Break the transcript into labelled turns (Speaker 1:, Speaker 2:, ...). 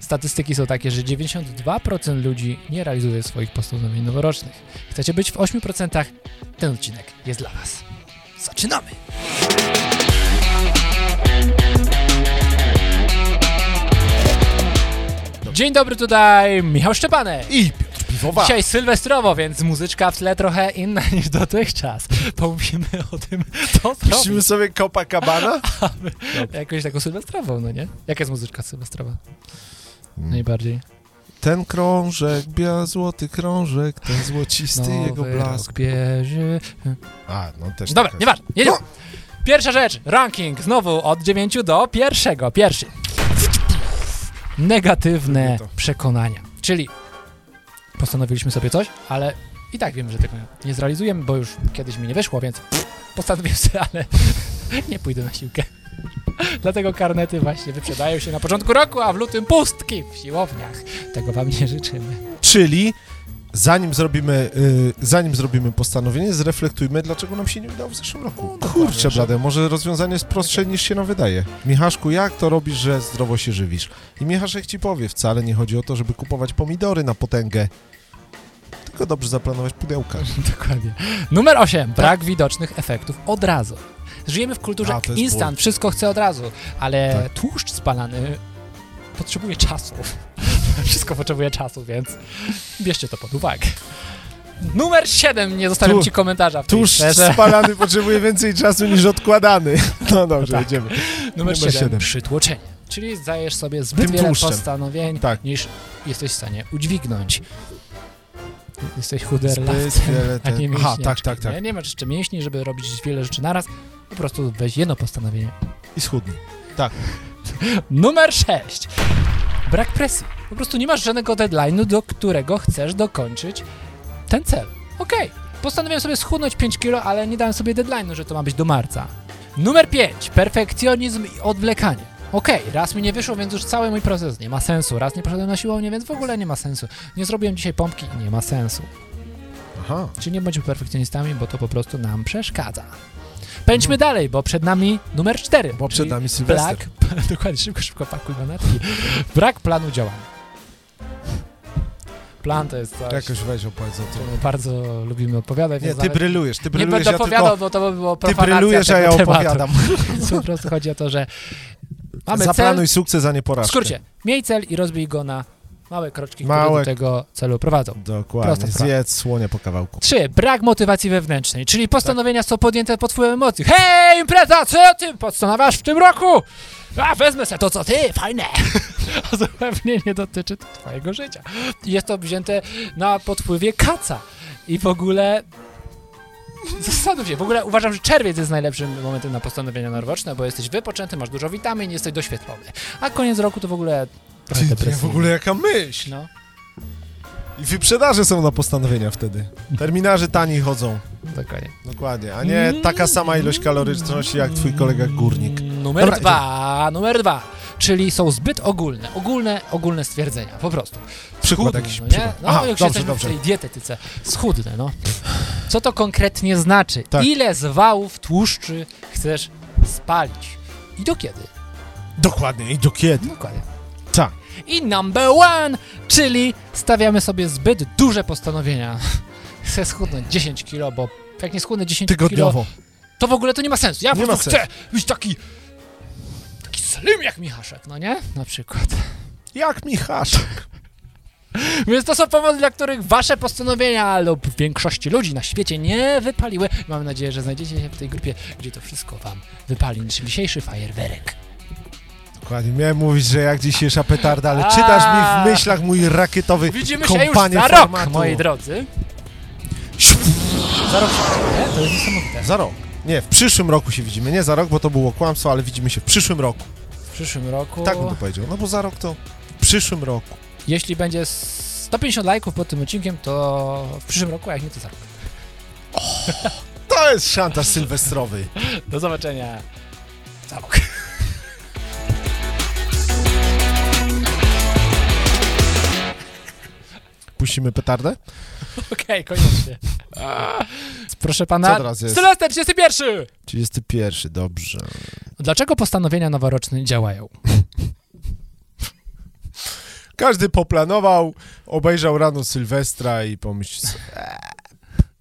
Speaker 1: Statystyki są takie, że 92% ludzi nie realizuje swoich postanowień noworocznych. Chcecie być w 8%? Ten odcinek jest dla Was. Zaczynamy! Dzień dobry tutaj, Michał Szczepanek.
Speaker 2: I Piotr Piwowa.
Speaker 1: Dzisiaj sylwestrowo, więc muzyczka w tle trochę inna niż dotychczas. Pomówimy o tym, co
Speaker 2: Puścimy
Speaker 1: zrobić.
Speaker 2: sobie kopa kabana?
Speaker 1: Jakąś taką sylwestrową, no nie? Jaka jest muzyczka sylwestrowa?
Speaker 2: Hmm.
Speaker 1: Najbardziej.
Speaker 2: Ten krążek, bia złoty krążek, ten złocisty jego
Speaker 1: Nowy
Speaker 2: blask.
Speaker 1: rok bierze...
Speaker 2: A, no też No.
Speaker 1: Dobra,
Speaker 2: taka-
Speaker 1: nieważne, jedziemy. Pierwsza rzecz, ranking znowu od 9 do pierwszego. Pierwszy. Negatywne
Speaker 2: Lubię to.
Speaker 1: przekonania. Czyli postanowiliśmy sobie coś, ale i tak wiem, że tego nie zrealizujemy, bo już kiedyś mi nie wyszło, więc postanowiłem sobie, ale nie pójdę na siłkę. Dlatego karnety właśnie wyprzedają się na początku roku, a w lutym pustki w siłowniach. Tego wam nie życzymy.
Speaker 2: Czyli zanim zrobimy, y, zanim zrobimy postanowienie, zreflektujmy, dlaczego nam się nie udało w zeszłym roku. Kurczę,
Speaker 1: że-
Speaker 2: blade, może rozwiązanie jest prostsze niż się nam wydaje. Michaszku, jak to robisz, że zdrowo się żywisz? I Michaszek ci powie, wcale nie chodzi o to, żeby kupować pomidory na potęgę, tylko dobrze zaplanować pudełka.
Speaker 1: Dokładnie. Numer 8. Brak widocznych efektów od razu. Żyjemy w kulturze
Speaker 2: Tak. A, to jest
Speaker 1: instant,
Speaker 2: ból.
Speaker 1: wszystko chce od razu, ale
Speaker 2: Tak.
Speaker 1: tłuszcz spalany potrzebuje czasu. wszystko potrzebuje czasu, więc bierzcie to pod uwagę. Numer 7. Nie zostawiam
Speaker 2: Tu-
Speaker 1: ci komentarza w tej
Speaker 2: Tuż
Speaker 1: sferze.
Speaker 2: spalany potrzebuje więcej czasu niż odkładany. No dobrze,
Speaker 1: No tak.
Speaker 2: jedziemy.
Speaker 1: Numer
Speaker 2: numer
Speaker 1: 7.
Speaker 2: siedem.
Speaker 1: Przytłoczenie. Czyli zdajesz sobie zbyt
Speaker 2: Tym
Speaker 1: wiele
Speaker 2: tłuszczem.
Speaker 1: postanowień,
Speaker 2: Tak.
Speaker 1: niż jesteś w stanie udźwignąć. Jesteś
Speaker 2: Zbyt
Speaker 1: chuderlacem.
Speaker 2: wiele
Speaker 1: A nie
Speaker 2: ten... Aha,
Speaker 1: mięśniaczki,
Speaker 2: tak, tak, tak.
Speaker 1: Nie? nie masz jeszcze mięśni, żeby robić wiele rzeczy naraz. Po prostu weź jedno postanowienie.
Speaker 2: I Tak. schudni.
Speaker 1: Numer 6. Brak presji. Po prostu nie masz żadnego deadline'u, do którego chcesz dokończyć ten cel. Okej, postanowiłem sobie schudnąć 5 kilo, ale nie dałem sobie deadline'u, że to ma być do marca. Numer 5. Perfekcjonizm i odwlekanie. Okej, raz mi nie wyszło, więc już cały mój proces nie ma sensu. Raz nie poszedłem na siłownię, więc w ogóle nie ma sensu. Nie zrobiłem dzisiaj pompki, nie ma sensu.
Speaker 2: Aha.
Speaker 1: Czy nie bądźmy perfekcjonistami, bo to po prostu nam przeszkadza. Pędźmy dalej, bo przed nami numer 4.
Speaker 2: No. Bo przed nami Sylwester.
Speaker 1: Brak, dokładnie, szybko, szybko pakuj manatki. Brak planu działania. Plan to jest coś,
Speaker 2: Jakoś weź opowiedz o tym.
Speaker 1: któremu bardzo lubimy odpowiadać.
Speaker 2: Nie,
Speaker 1: więc
Speaker 2: ty
Speaker 1: nawet
Speaker 2: brylujesz, ty
Speaker 1: nie
Speaker 2: brylujesz,
Speaker 1: będę
Speaker 2: ja
Speaker 1: opowiadał,
Speaker 2: tylko...
Speaker 1: bo to by było
Speaker 2: Ty
Speaker 1: profanacja
Speaker 2: brylujesz, a
Speaker 1: tego
Speaker 2: ja
Speaker 1: tematu.
Speaker 2: opowiadam.
Speaker 1: Po prostu chodzi o to, że mamy cel,
Speaker 2: Zaplanuj sukces, a nie
Speaker 1: w
Speaker 2: porażkę.
Speaker 1: skrócie, miej cel i rozbij go na małe kroczki, które
Speaker 2: Małe-
Speaker 1: do tego celu prowadzą. Prosta
Speaker 2: Dokładnie,
Speaker 1: sprawa.
Speaker 2: zjedz słonia po kawałku.
Speaker 1: 3. Brak motywacji wewnętrznej, czyli postanowienia są podjęte pod wpływem emocji. Hej, impreza, co ty postanawiasz w tym roku? A, wezmę se to, co ty, fajne. A zupełnie nie dotyczy to twojego życia. Jest to wzięte na podpływie kaca. I w ogóle... Zastanów się, w ogóle uważam, że czerwiec jest najlepszym momentem na postanowienia noworoczne, bo jesteś wypoczęty, masz dużo witamin, jesteś doświetlony. A koniec roku to w ogóle trochę
Speaker 2: Ty, nie, w
Speaker 1: depresyjny.
Speaker 2: ogóle jaka myśl.
Speaker 1: No.
Speaker 2: I wyprzedaże są na postanowienia wtedy. Terminarze tani chodzą.
Speaker 1: Dokładnie.
Speaker 2: Dokładnie, a nie
Speaker 1: Mm.
Speaker 2: taka sama ilość kaloryczności jak twój kolega górnik.
Speaker 1: Numer
Speaker 2: Dobra,
Speaker 1: dwa, numer dwa. Czyli są zbyt ogólne, ogólne, ogólne stwierdzenia, po prostu.
Speaker 2: Przykład
Speaker 1: Schudnę,
Speaker 2: jakiś.
Speaker 1: no nie?
Speaker 2: przykład.
Speaker 1: No,
Speaker 2: Aha,
Speaker 1: jak
Speaker 2: dobrze,
Speaker 1: jesteśmy w
Speaker 2: dobrze.
Speaker 1: tej dietetyce, schudnę, no. Co to konkretnie znaczy?
Speaker 2: Tak.
Speaker 1: Ile zwałów tłuszczy chcesz spalić? I do kiedy?
Speaker 2: Dokładnie, i do kiedy?
Speaker 1: Dokładnie.
Speaker 2: Tak.
Speaker 1: I number one, czyli stawiamy sobie zbyt duże postanowienia. Chcę schudnąć 10 kilo, bo jak nie schudnę 10 kilo,
Speaker 2: Tygodniowo.
Speaker 1: to w ogóle to nie ma sensu. Ja po
Speaker 2: Nie ma
Speaker 1: prostu chcę być taki. taki slim jak Michaszek, no nie? Na przykład.
Speaker 2: Jak Michasz?
Speaker 1: Więc to są powody, dla których wasze postanowienia lub większości ludzi na świecie nie wypaliły. Mam nadzieję, że znajdziecie się w tej grupie, gdzie to wszystko wam wypali. Niż dzisiejszy fajerwerek.
Speaker 2: Dokładnie, miałem mówić, że jak dzisiejsza petarda, ale czytasz mi w myślach mój rakietowy
Speaker 1: Widzimy się już
Speaker 2: kompanie
Speaker 1: za rok,
Speaker 2: formatu.
Speaker 1: moi drodzy. Za rok się nie? To jest niesamowite.
Speaker 2: Za rok. Nie, w przyszłym roku się widzimy. Nie za rok, bo to było kłamstwo, ale widzimy się w przyszłym roku.
Speaker 1: W przyszłym roku,
Speaker 2: Tak bym to powiedział. No bo za rok to w przyszłym roku.
Speaker 1: jeśli będzie 150 lajków pod tym odcinkiem, to w przyszłym roku, a jak nie, to za rok.
Speaker 2: To jest szantaż sylwestrowy.
Speaker 1: Do zobaczenia za rok.
Speaker 2: Puścimy petardę?
Speaker 1: Okej, koniecznie. Proszę pana.
Speaker 2: Co teraz jest?
Speaker 1: Sylwester 31!
Speaker 2: 31, dobrze.
Speaker 1: Dlaczego postanowienia noworoczne działają?
Speaker 2: Każdy poplanował, obejrzał rano Sylwestra i pomyślał, sobie,